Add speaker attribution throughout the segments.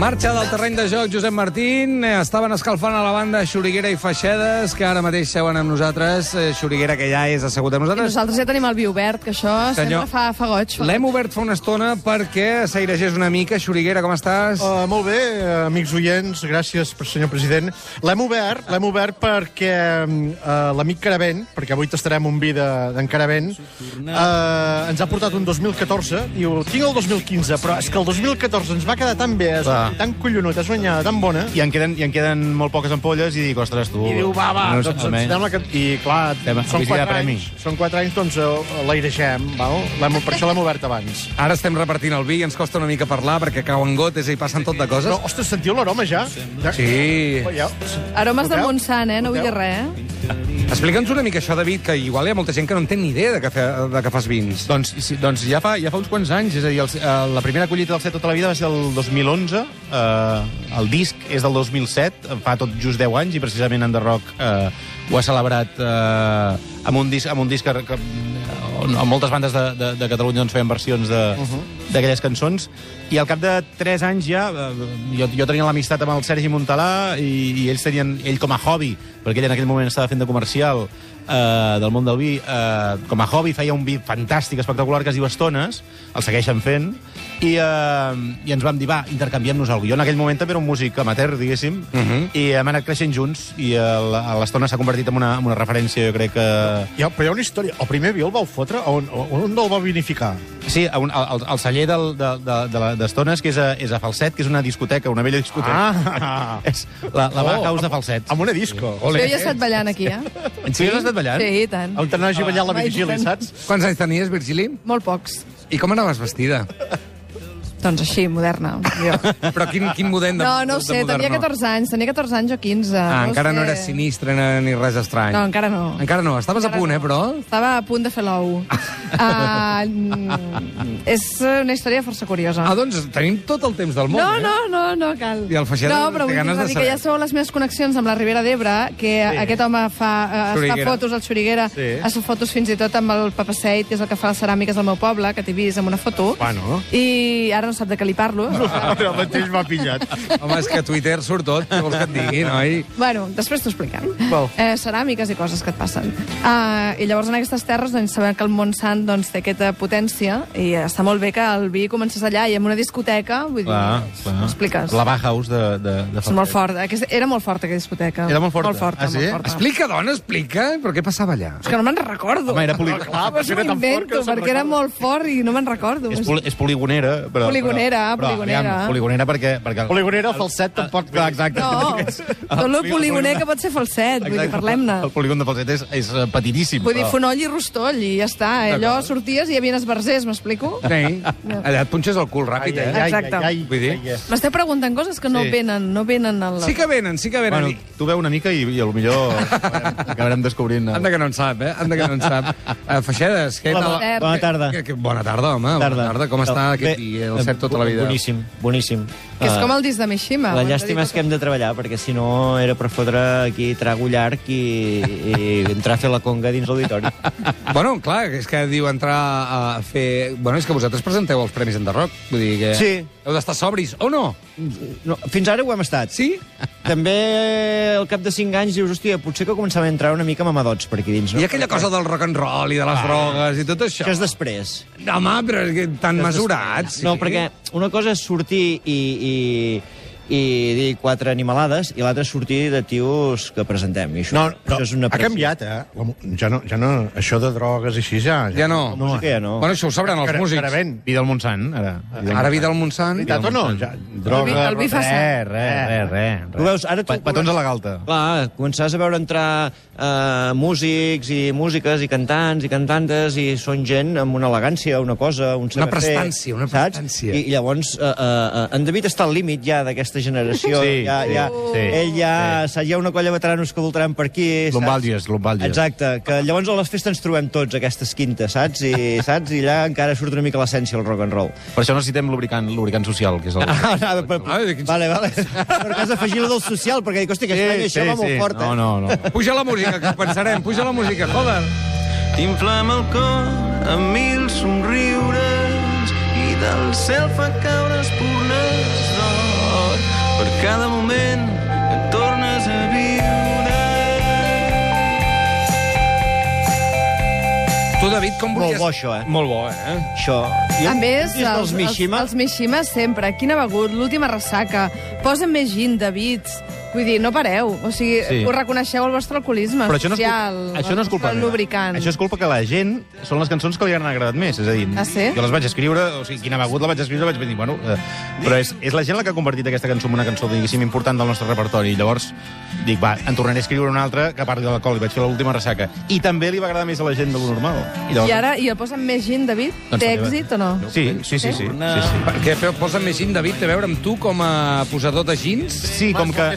Speaker 1: Marxa del terreny de joc Josep Martín. Eh, Estaven escalfant a la banda Xuriguera i Feixedes, que ara mateix seuen amb nosaltres. Eh, Xuriguera, que ja és assegut amb
Speaker 2: I
Speaker 1: nosaltres.
Speaker 2: nosaltres ja tenim el vi obert, que això
Speaker 1: Senyor,
Speaker 2: sempre fa, fa goig. Fa
Speaker 1: L'hem obert fa una estona perquè s'airegés una mica. Xuriguera, com estàs?
Speaker 3: Uh, molt bé, eh, amics oients, gràcies, per senyor president. L'hem obert, l'hem obert perquè uh, l'amic Caravent, perquè avui tastarem un vi de- d'en de, Caravent, uh, ens ha portat un 2014, diu, tinc el 2015, però és que el 2014 ens va quedar tan bé, es,
Speaker 4: Va.
Speaker 3: tan collonut, es banyada, tan bona,
Speaker 4: I en queden, i en queden molt poques ampolles i dic, ostres, tu...
Speaker 3: i diu, va, va,
Speaker 4: Oh, No,
Speaker 3: doncs em
Speaker 4: almenys.
Speaker 3: sembla que... I clar,
Speaker 4: Tema-
Speaker 3: són
Speaker 4: publicitat
Speaker 3: 4
Speaker 4: premi.
Speaker 3: anys, són 4 anys, doncs eh, l'airegem, val? L'hem- per això l'hem obert abans.
Speaker 1: Ara estem repartint el vi i ens costa una mica parlar perquè cauen gotes i passen tot de
Speaker 3: Però,
Speaker 1: coses.
Speaker 3: ostres, sentiu l'aroma ja? ja?
Speaker 1: Sí.
Speaker 3: Ja,
Speaker 2: Aromes de
Speaker 3: Noteu?
Speaker 2: Montsant, eh? No vull dir
Speaker 3: Noteu?
Speaker 2: res, eh?
Speaker 1: Explica'ns una mica això, David, que igual hi ha molta gent que no en té ni idea de que, fe, de que fas vins.
Speaker 4: Doncs, sí, doncs ja, fa, ja fa uns quants anys, és a dir, el, eh, la primera collita del Set tota la vida va ser el 2011, eh, el disc és del 2007, fa tot just 10 anys, i precisament en The Rock eh, ho ha celebrat eh, amb un disc, amb un disc que, que on, on moltes bandes de, de, de Catalunya doncs, feien versions de- d'aquelles uh -huh. cançons, i al cap de 3 anys ja, eh, jo, jo tenia l'amistat amb el Sergi Montalà, i, i ells tenien, ell com a hobby, perquè ell en aquell moment estava fent de comercial, eh, del món del vi, eh, com a hobby feia un vi fantàstic, espectacular, que es diu Estones, el segueixen fent, i, eh, i ens vam dir, va, intercanviem-nos alguna cosa. Jo en aquell moment també era un músic amateur, diguéssim, uh
Speaker 3: Mhm.
Speaker 4: -huh. i hem anat creixent junts, i eh, l'Estona s'ha convertit en una, en una referència, jo crec que...
Speaker 3: Hi ha, però hi ha una història. El primer vi el vau fotre? On, on, on el vau vinificar?
Speaker 4: Sí, a un, al, al celler del, de, de, de la- d'Estones, que és a, és a Falset, que és una discoteca, una vella discoteca.
Speaker 3: Ah!
Speaker 4: És la, la oh, House de Falset.
Speaker 3: Amb una disco.
Speaker 2: Jo
Speaker 3: Ole.
Speaker 2: ja he estat ballant aquí, eh?
Speaker 4: Sí, has estat ballant?
Speaker 2: Sí, i tant.
Speaker 3: On te n'hagi ballat la
Speaker 2: Mai
Speaker 3: vigília,
Speaker 2: tant.
Speaker 3: saps?
Speaker 1: Quants anys tenies, Virgili?
Speaker 2: Molt pocs.
Speaker 1: I com anaves vestida?
Speaker 2: Doncs així, moderna.
Speaker 1: Però quin, quin model de
Speaker 2: No, no ho
Speaker 1: de
Speaker 2: sé, tenia
Speaker 1: moderno?
Speaker 2: 14 anys, tenia 14 anys o 15.
Speaker 1: Ah,
Speaker 2: ho
Speaker 1: encara no
Speaker 2: sé.
Speaker 1: era sinistre ni- ni res estrany.
Speaker 2: No, encara no.
Speaker 1: Encara no, estaves a
Speaker 2: Encara
Speaker 1: punt,
Speaker 2: no.
Speaker 1: eh, però...
Speaker 2: Estava a punt de fer l'ou. Ah, mm, és una història força curiosa.
Speaker 1: Ah, doncs tenim tot el temps del món,
Speaker 2: No,
Speaker 1: eh?
Speaker 2: no, no, no cal.
Speaker 1: I el Feixeda
Speaker 2: no, però
Speaker 1: té
Speaker 2: vull
Speaker 1: ganes de
Speaker 2: dir que
Speaker 1: saber.
Speaker 2: ja sou les meves connexions amb la Ribera d'Ebre, que sí. aquest home fa, eh, es fa
Speaker 1: Xuriguera.
Speaker 2: fotos al Xuriguera, sí. es fa fotos fins i tot amb el Papaseit, que és el que fa les ceràmiques del meu poble, que t'he vist amb una foto.
Speaker 3: Bueno.
Speaker 2: I ara no sap de què li parlo.
Speaker 3: Ara mateix m'ha pillat.
Speaker 1: Home, és que a Twitter surt tot, què vols que et digui, noi?
Speaker 2: Bueno, després t'ho expliquem. Eh, ceràmiques i coses que et passen. Uh, I llavors en aquestes terres doncs, sabem que el Montsant doncs, té aquesta potència i està molt bé que el vi comencés allà i en una discoteca, vull dir,
Speaker 4: Ah, Clar, clar.
Speaker 2: m'ho expliques.
Speaker 4: La Bauhaus de, de, de
Speaker 2: És molt fort. eh? Aquesta, era molt forta, aquesta discoteca.
Speaker 4: Era molt forta?
Speaker 2: Molt forta,
Speaker 4: Ah, sí?
Speaker 2: molt forta.
Speaker 1: Explica, dona, explica. Però què passava allà?
Speaker 2: És que no me'n recordo.
Speaker 4: Home, era poli...
Speaker 3: Clar, però si
Speaker 2: M'ho
Speaker 3: era tan fort que
Speaker 2: invento,
Speaker 3: no se'n
Speaker 2: perquè era
Speaker 3: recorda.
Speaker 2: molt fort i no me'n recordo.
Speaker 4: És, poli és poligonera, però...
Speaker 2: Poligonera,
Speaker 4: però, però,
Speaker 2: poligonera.
Speaker 4: Aviam, poligonera perquè... perquè... Ah,
Speaker 3: Poligonera, falset, tampoc.
Speaker 4: Clar, exacte.
Speaker 2: No, tot el poligoner que pot ser falset, vull dir,
Speaker 4: Exacte.
Speaker 2: parlem-ne.
Speaker 4: El polígon de Falset és, és eh, petitíssim.
Speaker 2: Vull dir,
Speaker 4: però-
Speaker 2: fonoll i rostoll, i ja està. Eh? Allò sorties i hi havia esbarzers, m'explico?
Speaker 1: Sí. Allà et punxes el cul ràpid, eh?
Speaker 2: Exacte.
Speaker 1: Vull dir-
Speaker 2: M'esteu preguntant coses que no
Speaker 4: Sí.
Speaker 2: venen, no venen al...
Speaker 1: Sí que venen, sí que venen.
Speaker 4: Bueno, tu veu una mica i, i a lo millor acabarem descobrint... el-
Speaker 1: Anda que no en sap, eh? Anda que no en sap. Uh, Feixedes, què
Speaker 5: Hola,
Speaker 1: tal?
Speaker 5: bona, bona tarda.
Speaker 1: Que, que, bona tarda, home. Bona tarda. Com està
Speaker 5: Bé,
Speaker 1: aquest dia? El set tota la vida.
Speaker 5: Boníssim, boníssim.
Speaker 2: Que és
Speaker 5: Eh,
Speaker 2: com el disc de Mishima.
Speaker 5: la llàstima és que hem de treballar, perquè si no era per fotre aquí trago llarg i, i entrar a fer la conga dins l'auditori.
Speaker 1: Bueno, clar, és que diu entrar a fer... Bueno, és que vosaltres presenteu els Premis en The Rock. Vull dir que...
Speaker 5: Sí.
Speaker 1: Heu d'estar sobris, o no?
Speaker 5: No, fins ara ho hem estat.
Speaker 1: Sí?
Speaker 5: També al cap de 5 anys dius, hòstia, potser que començava a entrar una mica mamadots per aquí dins, no? eh. Ah.
Speaker 1: I aquella cosa del rock and roll i de les drogues i tot això.
Speaker 5: Que és després.
Speaker 1: Home, però és que tan mesurats.
Speaker 5: No, perquè una cosa és sortir i, i, i dir quatre animalades i l'altra és sortir de tios que presentem. I això,
Speaker 3: No, no,
Speaker 5: això és una
Speaker 3: ha
Speaker 5: pressió.
Speaker 3: canviat, eh? La, mu- ja, no, ja no, això de drogues i així ja...
Speaker 1: Ja no.
Speaker 5: La música ja no.
Speaker 1: Bueno, això ho sabran els
Speaker 3: Cara-
Speaker 1: músics.
Speaker 3: Caravent.
Speaker 4: Vida al Montsant, ara.
Speaker 1: Ara vida al Montsant.
Speaker 3: Veritat o no? Ja, droga... Eh,
Speaker 2: vi- el vi fa sang.
Speaker 3: Res, res, res, res.
Speaker 5: Tu veus, ara tu...
Speaker 4: Pa- Petons a la galta.
Speaker 5: Clar, començaràs a veure entrar eh, músics i músiques i cantants i cantantes i són gent amb una elegància, una cosa, un saber fer,
Speaker 1: prestància, una
Speaker 5: saps?
Speaker 1: prestància.
Speaker 5: I, i llavors eh, eh, en David està al límit ja d'aquesta generació.
Speaker 4: Sí,
Speaker 5: ja,
Speaker 4: sí,
Speaker 5: ja,
Speaker 4: sí.
Speaker 5: Ell ja... Sí. Hi ha una colla de veteranos que voltaran per aquí. saps?
Speaker 4: Lumbàlgies, lumbàlgies.
Speaker 5: Exacte, que llavors a les festes ens trobem tots, aquestes quintes, saps? I, saps? I allà encara surt una mica l'essència del rock and roll.
Speaker 4: Per això necessitem lubricant, lubricant social, que és el...
Speaker 5: Ah, no, però,
Speaker 1: Ah, de quins-
Speaker 5: vale, vale. Però que has d'afegir lo del social, perquè dic, hosti, que sí, això va molt fort,
Speaker 4: No,
Speaker 5: eh?
Speaker 4: no, no.
Speaker 1: Puja la música, que ho pensarem. Puja la música, joder.
Speaker 6: T'inflama el cor amb mil somriures i del cel fan caure espurnes d'or.
Speaker 1: David, com
Speaker 5: Molt
Speaker 1: volies...
Speaker 5: bo, això, eh?
Speaker 1: Molt bo, eh?
Speaker 5: Això.
Speaker 2: A més,
Speaker 5: I és dels Mishima.
Speaker 2: els, els Mishima sempre. Quina begut, l'última ressaca. Posen més gin, Davids. Vull dir, no pareu. O sigui,
Speaker 4: Sí.
Speaker 2: sí. us reconeixeu el vostre alcoholisme
Speaker 4: Però això no, és,
Speaker 2: social.
Speaker 4: cul- això no és culpa
Speaker 2: el
Speaker 4: meva.
Speaker 2: lubricant.
Speaker 4: Això és culpa que la gent... Són les cançons que li han agradat més. És a dir,
Speaker 2: Ah, sí?
Speaker 4: jo les vaig escriure, o sigui, quina begut la vaig escriure, vaig dir, bueno... Eh, però és, és la gent la que ha convertit aquesta cançó en una cançó, diguéssim, important del nostre repertori. I llavors dic, va, en tornaré a escriure una altra que parli de l'alcohol. I vaig fer l'última ressaca. I també li va agradar més a la gent del normal.
Speaker 2: I ara, i el posen més gin, David?
Speaker 4: Doncs
Speaker 2: Té
Speaker 4: també va.
Speaker 2: èxit o no?
Speaker 4: Sí, sí, sí, sí. sí, sí.
Speaker 1: Perquè fe- posa'm més gin, David, té a veure amb tu com a posador de gins?
Speaker 4: Sí, com que,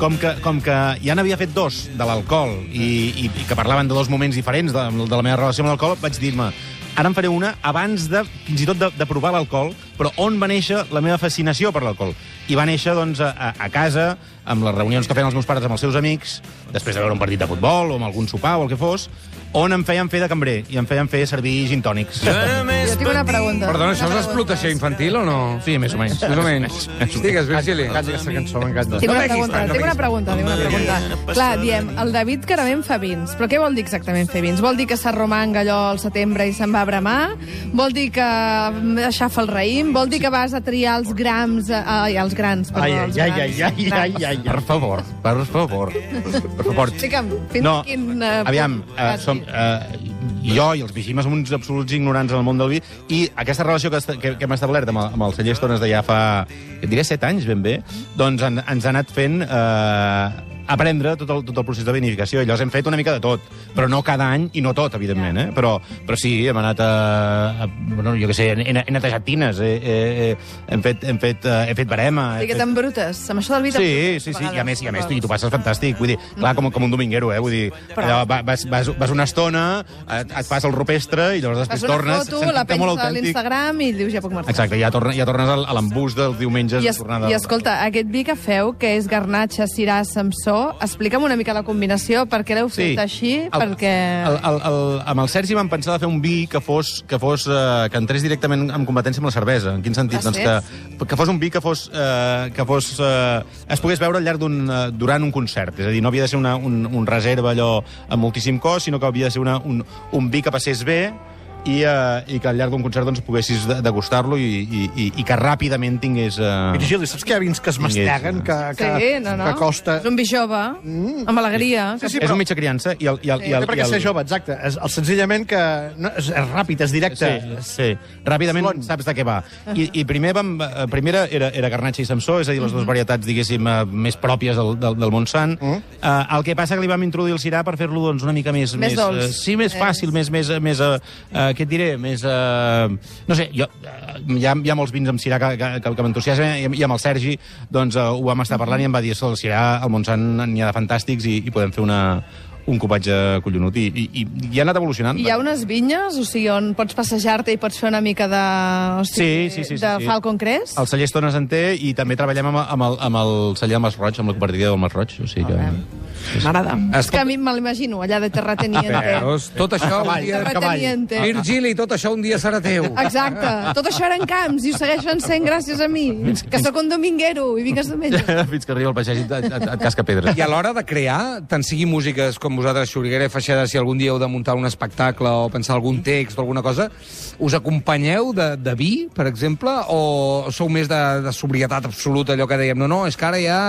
Speaker 4: com que, com que ja n'havia fet dos, de l'alcohol, i, i, i que parlaven de dos moments diferents de, de la meva relació amb l'alcohol, vaig dir-me, ara en faré una abans de, fins i tot, de, de provar l'alcohol, però on va néixer la meva fascinació per l'alcohol? I va néixer, doncs, a, a- a casa, amb les reunions que feien els meus pares amb els seus amics, després de veure un partit de futbol o amb algun sopar o el que fos, on em feien fer de cambrer i em feien fer servir gin tònics.
Speaker 2: Jo tinc una pregunta.
Speaker 1: Perdona, això
Speaker 2: Una
Speaker 1: és
Speaker 2: pregunta.
Speaker 1: explotació infantil o no?
Speaker 4: Sí, més o menys.
Speaker 1: Més o menys. Digues, Virgili.
Speaker 3: M'encanta aquesta cançó, m'encanta.
Speaker 2: Tinc una
Speaker 1: No
Speaker 2: pregunta,
Speaker 1: reguis tant,
Speaker 2: tinc una
Speaker 1: no
Speaker 2: pregunta, tinc una pregunta. Clar, diem, el David Caravent fa vins, però què vol dir exactament fer vins? Vol dir que s'arromanga allò al setembre i se'n va a bramar? Vol dir que mm, aixafa el raïm? Vol dir que vas a triar els grams... eh, Ai, els grans, perdó,
Speaker 3: Ai,
Speaker 2: els
Speaker 3: ai, ai, ai,
Speaker 2: grans.
Speaker 3: ai, ai, ai, ai.
Speaker 4: Per favor, per favor. Per favor.
Speaker 2: Fica'm, fins a quin... eh, punt
Speaker 4: aviam, eh,
Speaker 2: vas
Speaker 4: som,
Speaker 2: dir.
Speaker 4: eh, jo i els Vigim som uns absoluts ignorants en el món del vi i aquesta relació que, est- que, que hem establert amb el, amb el celler Estones d'allà fa, et diré, set anys ben bé, doncs en, ens ha anat fent eh, aprendre tot el, tot el procés de vinificació. I llavors hem fet una mica de tot, però no cada any i no tot, evidentment, eh? Però, però sí, hem anat a... a bueno, jo què sé, he, he netejat tines, he, he, he, hem fet, hem fet, eh, he fet barema...
Speaker 2: O
Speaker 4: he
Speaker 2: sigui que
Speaker 4: fet-
Speaker 2: t'embrutes, amb això del vi
Speaker 4: Sí,
Speaker 2: t'embrutes
Speaker 4: sí, sí,
Speaker 2: vegades.
Speaker 4: i a més, i a més, tu, i tu passes fantàstic, vull dir, clar, com, com un dominguero, eh, vull dir,
Speaker 2: Però-
Speaker 4: allò, va- vas, vas, vas una estona, et, et fas el rupestre, i llavors
Speaker 2: Fas
Speaker 4: després
Speaker 2: una
Speaker 4: tornes,
Speaker 2: foto,
Speaker 4: sentint-te
Speaker 2: la
Speaker 4: molt
Speaker 2: penses a
Speaker 4: autèntic.
Speaker 2: l'Instagram i dius ja puc marxar.
Speaker 4: Exacte, ja, torna, ja tornes al- a l'embús dels diumenges.
Speaker 2: I, es,
Speaker 4: de tornada
Speaker 2: I
Speaker 4: al-
Speaker 2: escolta, aquest vi que feu, que és garnatxa, cirà, samsó, explica'm una mica la combinació, per què l'heu fet així, perquè...
Speaker 4: El, el, el, amb el Sergi vam pensar de fer un vi que fos, que fos eh, que entrés directament en competència amb la cervesa. En quin sentit?
Speaker 2: Ah,
Speaker 4: doncs
Speaker 2: sí?
Speaker 4: que, que fos un vi que fos, eh, que fos eh, es pogués veure al llarg d'un eh, durant un concert. És a dir, no havia de ser una, un, un reserva allò amb moltíssim cost, sinó que havia de ser una, un, un vi que passés bé i, eh, i que al llarg d'un concert doncs, poguessis de- degustar-lo i, i, i, i que ràpidament tingués... Eh...
Speaker 3: Virgili, saps que hi ha vins que es masteguen, que, que,
Speaker 2: sí, no, no?
Speaker 3: que costa...
Speaker 2: És un vi jove,
Speaker 4: Mm.
Speaker 2: amb alegria.
Speaker 3: Sí, sí,
Speaker 4: És
Speaker 3: però-
Speaker 4: un mitja criança i el, i el, i el,
Speaker 3: Té perquè
Speaker 4: i el...
Speaker 3: ser jove, exacte. És, el, senzillament que no, és, és ràpid, és directe.
Speaker 4: Sí, sí. Ràpidament
Speaker 3: Slon.
Speaker 4: saps de què va. I, i primer vam, eh, primera era, era Garnatxa i Samsó, és a dir, les
Speaker 3: Mhm.
Speaker 4: dues varietats, diguéssim, eh, més pròpies del, del, del Montsant. Mm. Eh, el que passa que li vam introduir el cirà per fer-lo doncs, una mica més...
Speaker 2: Més dolç.
Speaker 4: eh, sí, més fàcil, més... més, eh, més eh, eh, què et diré? Més... Eh, no sé, jo, eh, hi, ha, hi ha molts vins amb cirà que, que, que, que m'entusiasmen, i, amb- i amb el Sergi doncs, eh, ho vam estar parlant i em va dir, "Escolta, el cirà, al Montsant n'hi ha de fantàstics i, i podem fer una, un copatge collonut. I, i, i, i ha anat evolucionant.
Speaker 2: Hi ha unes vinyes, o sigui, on pots passejar-te i pots fer una mica de... O sigui,
Speaker 4: Sí, sí, sí, sí,
Speaker 2: de
Speaker 4: sí.
Speaker 2: Falcon Crest?
Speaker 4: El celler Estones en té i també treballem amb, amb, el, amb el celler del Mas Roig, amb la cooperativa del Mas Roig. O sigui que...
Speaker 2: M'agrada. És
Speaker 1: Escolta-
Speaker 2: que a mi me l'imagino, allà de Terrateniente.
Speaker 1: Veus? Tot això un dia...
Speaker 2: Terrateniente.
Speaker 1: Virgili, tot això un dia serà teu.
Speaker 2: Exacte. Tot això eren camps i ho segueixen sent gràcies a mi, que sóc un dominguero i vinc a diumenge.
Speaker 4: Fins que arriba el pagès i et, et, et casca pedra.
Speaker 1: I a l'hora de crear, tant sigui músiques com vosaltres, Xuriguera i Feixeda, si algun dia heu de muntar un espectacle o pensar algun text o alguna cosa, us acompanyeu de, de vi, per exemple, o sou més de, de sobrietat absoluta, allò que dèiem? No, no, és que ara ja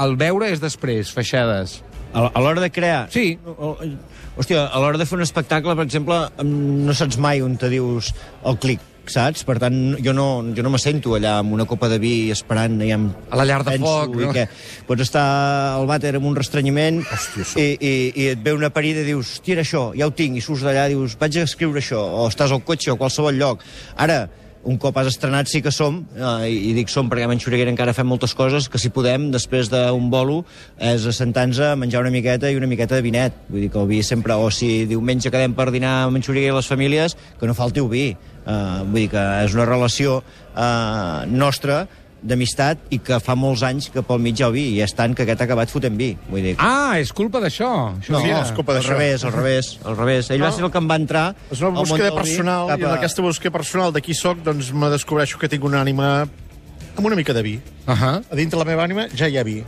Speaker 1: el beure és després, Feixedes.
Speaker 5: A a l'hora de crear...
Speaker 1: Sí.
Speaker 5: O- o- Hòstia, a l'hora de fer un espectacle, per exemple, em, no saps mai on te dius el clic, saps? Per tant, jo no, jo no me sento allà amb una copa de vi esperant... Ja em,
Speaker 1: A la llar de foc,
Speaker 5: i
Speaker 1: no?
Speaker 5: què. Pots estar al vàter amb un restrenyiment i, i, i et ve una parida i dius, hòstia, era això, ja ho tinc, i surts d'allà i dius, vaig a escriure això, o estàs al cotxe o a qualsevol lloc. Ara, un cop has estrenat sí que som, eh, i, i dic som perquè amb en Xuriguera encara fem moltes coses, que si podem, després d'un bolo, és assentar-nos a menjar una miqueta i una miqueta de vinet. Vull dir que el vi sempre, o si diumenge quedem per dinar amb en Xuriguera i les famílies, que no falti el vi. Uh, vull dir que és una relació uh, nostra d'amistat i que fa molts anys que pel mig hi ha el vi i és tant que aquest ha acabat fotent vi. Vull dir, que-
Speaker 1: Ah, és culpa d'això. Això
Speaker 5: no,
Speaker 1: sí,
Speaker 3: és culpa
Speaker 5: al
Speaker 3: d'això.
Speaker 5: revés, al revés, al revés. Ell va ser el que em va entrar...
Speaker 3: És una
Speaker 5: al món
Speaker 3: búsqueda
Speaker 5: del vi
Speaker 3: personal,
Speaker 5: cap
Speaker 3: i en aquesta búsqueda personal de qui sóc, doncs me descobreixo que tinc una ànima amb una mica de vi.
Speaker 1: Uh -huh.
Speaker 3: A dintre la meva ànima ja hi ha vi.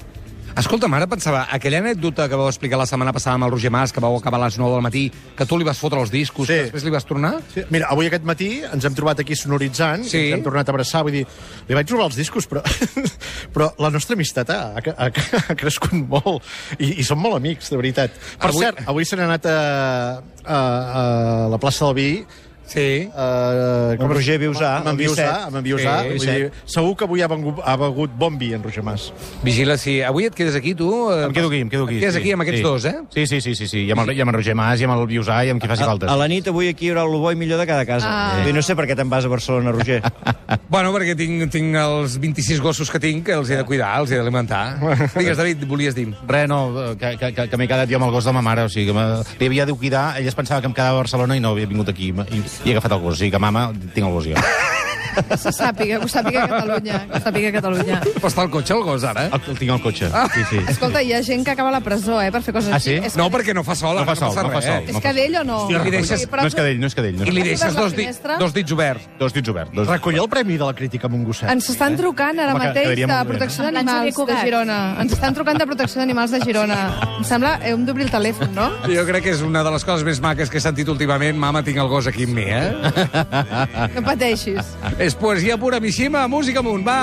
Speaker 1: Escolta'm, ara pensava, aquella anècdota que vau explicar la setmana passada amb el Roger Mas, que vau acabar a les 9 del matí, que tu li vas fotre els discos,
Speaker 3: Sí.
Speaker 1: que després li vas tornar...
Speaker 3: Sí, mira, avui aquest matí ens hem trobat aquí sonoritzant,
Speaker 1: Sí.
Speaker 3: sí. ens hem tornat a abraçar, vull dir, li vaig robar els discos, però, però la nostra amistat ha, ha, ha, ha crescut molt, i, i som molt amics, de veritat. Per
Speaker 1: Avui-
Speaker 3: avui... cert, avui se n'ha anat a, a, a la plaça del Vi,
Speaker 1: Sí.
Speaker 3: Uh,
Speaker 5: Amb Roger Viusà,
Speaker 3: amb en
Speaker 5: el
Speaker 3: Viusà,
Speaker 5: Vicet.
Speaker 3: amb en Viusà.
Speaker 1: Sí,
Speaker 3: eh? vull dir, segur que avui ha, vengut, ha begut bon vi en Roger Mas.
Speaker 1: Vigila si... Avui et quedes aquí, tu? eh,
Speaker 4: Em quedo aquí, em quedo aquí.
Speaker 1: Et quedes
Speaker 4: sí,
Speaker 1: aquí amb aquests
Speaker 4: sí.
Speaker 1: dos, eh? Ah,
Speaker 4: Sí, sí, sí, sí, sí. I amb, el, i amb en Roger Mas, i amb el Viusà, i amb qui faci
Speaker 5: A,
Speaker 4: falta.
Speaker 5: a la nit avui aquí hi haurà el bo i millor de cada casa.
Speaker 2: Ah.
Speaker 5: Ah. I no sé per què te'n vas a Barcelona, Roger.
Speaker 4: Ah.
Speaker 1: Bueno, perquè tinc, tinc els 26 gossos que tinc, que els he de cuidar, els he d'alimentar. Digues, David, volies dir.
Speaker 4: Re, no, que, que, que, que m'he quedat jo amb el gos de ma mare, o sigui, que me- li havia de cuidar, ella es pensava que em quedava a Barcelona i no havia vingut aquí, i, i he agafat el gos, o sigui que mama, tinc el gos jo.
Speaker 2: Que se sàpiga, que ho sàpiga Catalunya. Que ho sàpiga Catalunya.
Speaker 1: Però està al cotxe, el gos, ara?
Speaker 4: El, el tinc al cotxe,
Speaker 1: Ah.
Speaker 4: sí, sí.
Speaker 2: Escolta, hi ha gent que acaba a la presó, eh, per fer coses
Speaker 4: Ah, sí?
Speaker 2: així. És,
Speaker 1: No, perquè no fa sol.
Speaker 4: No
Speaker 1: ara
Speaker 4: fa sol,
Speaker 1: passa
Speaker 4: no fa
Speaker 1: res.
Speaker 4: sol.
Speaker 2: és cadell o no?
Speaker 1: Hòstia, li deixes-
Speaker 4: No és cadell, no és cadell. No
Speaker 1: I
Speaker 4: és...
Speaker 1: li
Speaker 2: Has
Speaker 1: deixes
Speaker 2: obert la
Speaker 1: dos, di
Speaker 2: finestra?
Speaker 1: dos dits oberts.
Speaker 4: Dos dits oberts. Dos...
Speaker 3: Recollir el premi de la crítica amb un gosset.
Speaker 2: Ens estan trucant ara
Speaker 4: Home, que-
Speaker 2: mateix
Speaker 4: quedaria
Speaker 2: de
Speaker 4: molt bé,
Speaker 2: Protecció
Speaker 7: no? En plan
Speaker 2: d'Animals
Speaker 7: Xavier
Speaker 2: de
Speaker 7: Cugat.
Speaker 2: Girona. Ens estan trucant de Protecció d'Animals de Girona. Em sembla, hem d'obrir el telèfon, no?
Speaker 1: Jo crec que és una de les coses més maques que he sentit últimament. Mama, tinc el gos aquí amb mi, eh?
Speaker 2: No pateixis.
Speaker 1: és poesia pura, Mishima, música amunt, va!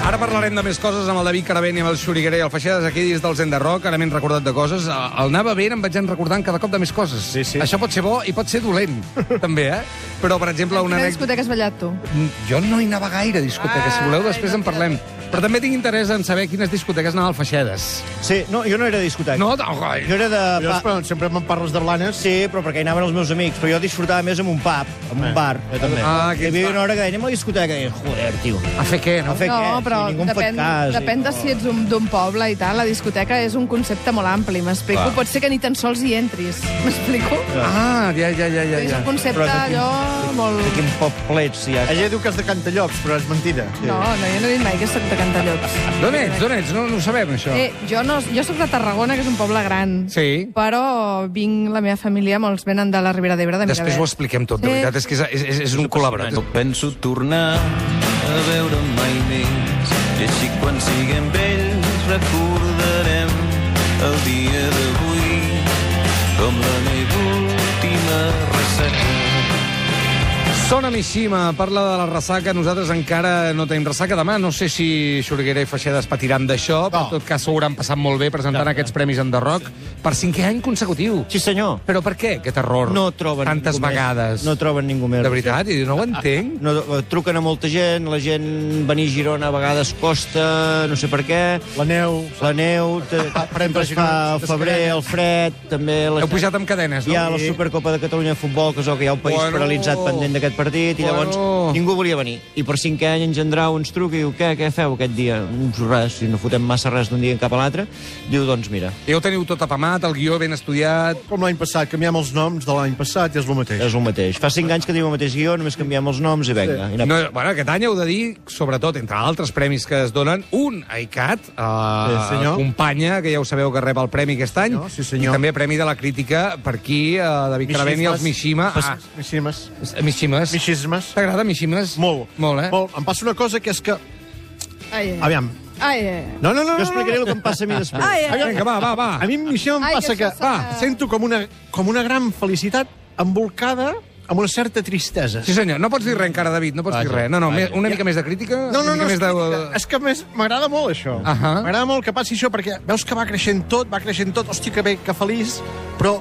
Speaker 1: Ara parlarem de més coses amb el David Caravent i amb el Xuriguera i el Feixades aquí dins del Zen de Rock. Ara m'hem recordat de coses. Eh, El anava bé, em vaig anar recordant cada cop de més coses.
Speaker 3: Sí, sí.
Speaker 1: Això pot ser bo i pot ser dolent, també, eh? Però, per exemple,
Speaker 2: En
Speaker 1: una
Speaker 2: quina
Speaker 1: anècdota...
Speaker 2: discoteca has ballat tu?
Speaker 1: Jo no hi anava gaire a discoteques. Si voleu,
Speaker 2: Ai,
Speaker 1: després
Speaker 2: no,
Speaker 1: en parlem. Però també tinc interès en saber quines discoteques anava al Feixedes.
Speaker 5: Sí, no, jo no era de discoteca.
Speaker 1: No, no, coi.
Speaker 5: Jo era de...
Speaker 3: Jo,
Speaker 5: Pa...
Speaker 3: però, sempre me'n parles de blanes.
Speaker 5: Sí, però perquè hi anaven els meus amics. Però jo disfrutava més en un pub, en un bar.
Speaker 3: Eh, jo també.
Speaker 1: Ah,
Speaker 5: Hi
Speaker 1: que
Speaker 5: havia una hora que deia, anem a la discoteca. I deia, joder, tio.
Speaker 1: A fer què, no?
Speaker 5: A fer
Speaker 2: no,
Speaker 5: què? Si
Speaker 2: però
Speaker 5: ningú em fot
Speaker 2: depèn,
Speaker 5: cas, i-
Speaker 2: depèn de si ets un- d'un poble i tal. La discoteca és un concepte molt ampli, m'explico.
Speaker 4: Clar.
Speaker 2: Pot ser que ni tan sols hi entris, m'explico?
Speaker 1: Ah, ja, ja, ja, ja.
Speaker 2: És
Speaker 1: ja.
Speaker 2: un concepte
Speaker 5: Però de quin-
Speaker 2: allò molt...
Speaker 5: De quin poblet si hi ha...
Speaker 3: Ella diu que és de Cantallops, però és mentida.
Speaker 2: No, no, jo no he dit mai que soc de Cantallops.
Speaker 1: D'on ets? D'on ets? No, no ho sabem, això.
Speaker 2: Eh, jo, no, jo soc de Tarragona, que és un poble gran.
Speaker 1: Sí.
Speaker 2: Però vinc, la meva família, molts venen de la Ribera d'Ebre, de
Speaker 1: Després ho
Speaker 2: Miravet.
Speaker 1: expliquem tot, de
Speaker 2: Sí.
Speaker 1: veritat. És que és, és, és, és un col·laborat.
Speaker 6: No penso tornar a veure mai més. I així quan siguem vells recordarem el dia d'avui com la meva última ressaca.
Speaker 1: Sona Mishima, parla de la ressaca. Nosaltres encara no tenim ressaca. Demà no sé si Xurguera i Feixedes patiran d'això, però en tot cas s'ho hauran passat molt bé presentant aquests premis en The Rock per cinquè any consecutiu.
Speaker 5: Sí, senyor.
Speaker 1: Però per què aquest error?
Speaker 5: No troben
Speaker 1: Tantes
Speaker 5: ningú
Speaker 1: vegades.
Speaker 5: Més. No troben ningú més.
Speaker 1: De veritat, i no ho entenc.
Speaker 5: No, eh, truquen a molta gent, la gent venir a Girona a vegades costa, no sé per què.
Speaker 3: La neu...
Speaker 5: La neu, te,
Speaker 3: Fa- farem
Speaker 5: sempre es fa el
Speaker 3: pressionar-
Speaker 5: febrer, el fred, també... La
Speaker 1: Heu pujat amb cadenes, no?
Speaker 5: Hi ha la Supercopa de Catalunya de Futbol, que es veu que hi ha un país
Speaker 1: Bueno.
Speaker 5: bueno. paralitzat pendent d'aquest partit, i llavors
Speaker 1: Bueno.
Speaker 5: ningú volia venir. I per cinquè any en Gendrau ens truca i diu, què, què feu aquest dia? Uns res, si no fotem massa res d'un dia cap a l'altre. Diu, doncs mira,
Speaker 1: Ja ho teniu tot apamat, el guió ben estudiat...
Speaker 3: Com l'any passat, canviem els noms de l'any passat i és el mateix.
Speaker 5: és el mateix. Fa cinc anys que diu el mateix guió, només canviem els noms i vinga. I
Speaker 1: No, bueno, aquest any heu de dir, sobretot, entre altres premis que es donen, un a ICAT, a
Speaker 3: Sí, senyor.
Speaker 1: companya, que ja ho sabeu que rep el premi aquest any,
Speaker 3: No, sí,
Speaker 1: i
Speaker 3: senyor.
Speaker 1: també premi de la crítica per aquí, a David Caravent i els Mishima.
Speaker 3: Fas-
Speaker 1: Ah,
Speaker 3: Mishimes.
Speaker 1: Mishimes.
Speaker 3: Mishismes.
Speaker 1: T'agrada Mishimes?
Speaker 3: Molt.
Speaker 1: Molt, eh?
Speaker 3: Molt. Em passa una cosa que és que...
Speaker 2: Ai, ai.
Speaker 3: Aviam.
Speaker 2: Ai, ai. ai.
Speaker 3: No, no, no.
Speaker 5: Jo
Speaker 3: no,
Speaker 5: explicaré el que em passa a mi després.
Speaker 2: Ai, ai.
Speaker 1: Vinga, va, va, va.
Speaker 3: A mi amb Mishima
Speaker 2: Ai, que
Speaker 3: em passa
Speaker 2: això
Speaker 3: que...
Speaker 2: serà-
Speaker 3: Va, sento com una, com una gran felicitat embolcada amb una certa tristesa.
Speaker 1: Sí, senyor. No pots dir res encara, David, no pots dir res. No, no, me- una mica més de crítica,
Speaker 3: No, no,
Speaker 1: una
Speaker 3: no, és,
Speaker 1: mica més
Speaker 3: que,
Speaker 1: de...
Speaker 3: és que a més m'agrada molt això. Uh
Speaker 1: Ahà.
Speaker 3: -huh. M'agrada molt que passi això perquè veus que va creixent tot, va creixent tot, hòstia, que bé, que feliç, però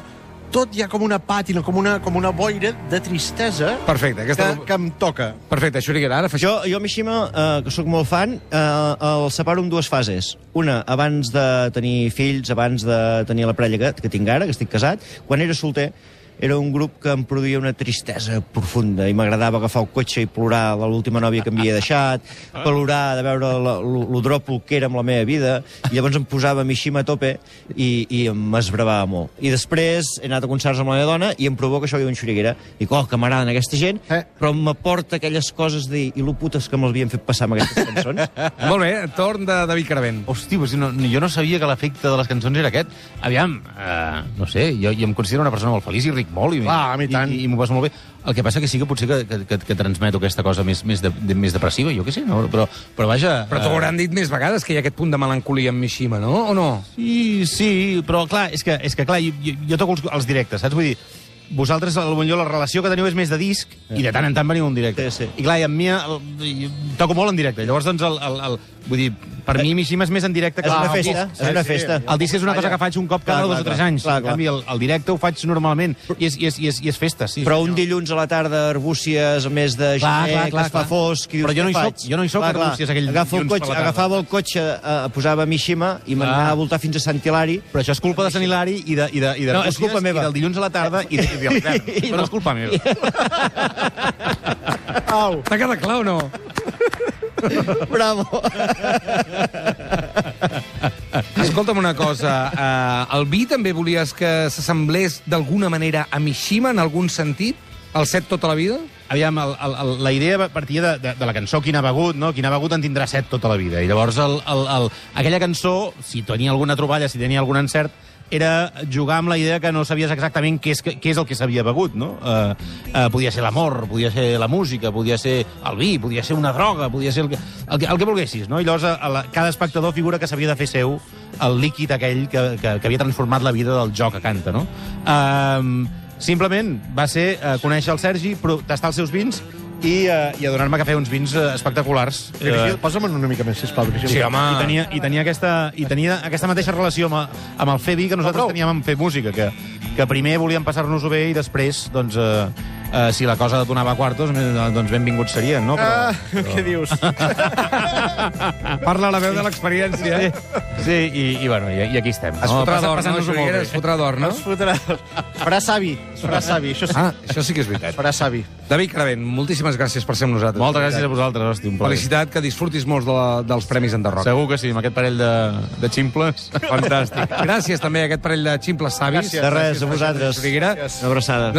Speaker 3: tot hi ha com una pàtina, com una, com una boira de tristesa
Speaker 1: Perfecte, aquesta...
Speaker 3: que, que em toca.
Speaker 1: Perfecte, Xuriguera, ara fa
Speaker 5: Jo, jo a Mishima, eh, que sóc molt fan, eh, el separo en dues fases. Una, abans de tenir fills, abans de tenir la parella que, que tinc ara, que estic casat, quan era solter, era un grup que em produïa una tristesa profunda i m'agradava agafar el cotxe i plorar de l'última nòvia que m'havia deixat, plorar Ah. de veure la- lo lo dròpol que era amb la meva vida, i llavors em posava Mishima a tope i, i em esbravava molt. I després he anat a concerts amb la meva dona i em provoca això que diu en Xuriguera. Dic, oh, que m'agraden aquesta gent,
Speaker 3: Eh.
Speaker 5: però m'aporta aquelles coses de dir, i lo putes que m'havien fet passar amb aquestes cançons.
Speaker 1: Eh? Molt bé, torn de David Caravent.
Speaker 4: Hosti, Mm. però si no, jo no sabia que l'efecte de les cançons era aquest. Aviam, eh, no sé, jo, jo em considero una persona molt feliç i ric molt. I,
Speaker 3: Clar, a mi tant.
Speaker 4: I, i m'ho passo molt bé. El que passa que sí que potser que, que, que, que transmeto aquesta cosa més, més, de, de, més depressiva, jo què sé, no? però, però vaja...
Speaker 1: Però t'ho
Speaker 4: eh,
Speaker 1: hauran dit més vegades, que hi ha aquest punt de melancolia amb Mishima, no? O no?
Speaker 4: Sí, sí, però clar, és que, és que clar, jo, jo, jo toco els, els directes, saps? Vull dir, vosaltres, a lo millor, la relació que teniu és més de disc i de tant en tant veniu un directe.
Speaker 5: Sí, sí.
Speaker 4: I clar, i amb mi el, jo toco molt en directe. Llavors, doncs, el, el, el, vull dir, per mi Mishima és més en directe que
Speaker 5: És una
Speaker 4: el
Speaker 5: festa,
Speaker 4: disc.
Speaker 5: és una festa.
Speaker 4: El disc és una cosa que faig un cop cada
Speaker 5: Clar,
Speaker 4: dos
Speaker 5: clar,
Speaker 4: o tres
Speaker 5: clar.
Speaker 4: anys.
Speaker 5: Clar, clar.
Speaker 4: En canvi, el, el directe ho faig normalment. I és, i és, i és, i és festa, sí.
Speaker 5: Però un dilluns a la tarda, Arbúcies, a més de gener,
Speaker 4: Clar, clar, clar,
Speaker 5: que es
Speaker 4: clar.
Speaker 5: fa fosc... I dius,
Speaker 4: Però jo no
Speaker 5: "Què
Speaker 4: hi soc,
Speaker 5: faig?"
Speaker 4: jo no hi soc, Arbúcies, aquell
Speaker 5: Agafo el
Speaker 4: dilluns per la
Speaker 5: cotxe,
Speaker 4: tarda.
Speaker 5: agafava el cotxe, eh, posava Mishima i me'n
Speaker 4: Clar.
Speaker 5: anava a voltar fins a Sant Hilari.
Speaker 4: Però això és culpa de Sant Hilari i, de, i, de, i, de
Speaker 5: No, és culpa
Speaker 4: Arbúcies,
Speaker 5: meva.
Speaker 4: i del dilluns a la tarda i, de, i de l'hivern.
Speaker 5: I
Speaker 4: Però
Speaker 5: no.
Speaker 4: és culpa meva.
Speaker 3: Au.
Speaker 1: T'ha quedat clar o no?
Speaker 5: Bravo!
Speaker 1: Escolta'm una cosa, eh, el vi també volies que s'assemblés d'alguna manera a Mishima en algun sentit? El set tota la vida?
Speaker 4: Aviam, el, el, el, la idea partia de, de, de la cançó Quina begut, no? Quina begut en tindrà set tota la vida. I llavors el, el, el, aquella cançó, si tenia alguna troballa, si tenia algun encert, era jugar amb la idea que no sabies exactament què és, què és el que s'havia begut, no? Eh, eh, podia ser l'amor, podia ser la música, podia ser el vi, podia ser una droga, podia ser el que, el que, el que volguessis, no? I llavors a, a la, cada espectador figura que s'havia de fer seu el líquid aquell que, que, que havia transformat la vida del joc que canta, no? Eh, Simplement va ser eh, conèixer el Sergi, pro- tastar els seus vins i, eh, i adonar-me que feia uns vins eh, espectaculars.
Speaker 3: Virgil,
Speaker 4: Eh,
Speaker 3: posa'm una mica més, sisplau, Virgil.
Speaker 4: Sí, home. I tenia, i tenia, aquesta, i tenia aquesta mateixa relació amb, amb el fer vi que nosaltres teníem amb fer música, que, que primer volíem passar-nos-ho bé i després, doncs, eh, eh, si la cosa donava quartos, eh, doncs benvinguts serien, no?
Speaker 3: Ah,
Speaker 4: Però,
Speaker 3: què dius?
Speaker 1: Parla la veu de l'experiència.
Speaker 4: eh?
Speaker 1: Sí.
Speaker 4: sí, i, i, bueno, i, i aquí estem.
Speaker 1: Es
Speaker 4: No?
Speaker 1: fotrà
Speaker 4: Passa-
Speaker 1: d'or, no,
Speaker 4: passant-nos-ho molt
Speaker 1: Jorguera?
Speaker 4: bé.
Speaker 1: Es fotrà d'or, no?
Speaker 3: Es fotrà... Es farà savi, es farà savi, això sí.
Speaker 1: Ah, això sí que és
Speaker 3: Es
Speaker 1: veritat.
Speaker 3: farà savi.
Speaker 1: David Cravent, moltíssimes gràcies per ser amb nosaltres.
Speaker 4: Moltes gràcies a vosaltres, hosti, un plaer.
Speaker 1: Felicitat, que disfrutis molts de la, dels Premis Enderroc.
Speaker 4: Segur que sí, amb aquest parell de, de ximples.
Speaker 1: Fantàstic. Gràcies també a aquest parell de ximples savis.
Speaker 5: De res, a vosaltres.
Speaker 1: Gràcies.
Speaker 5: Una abraçada.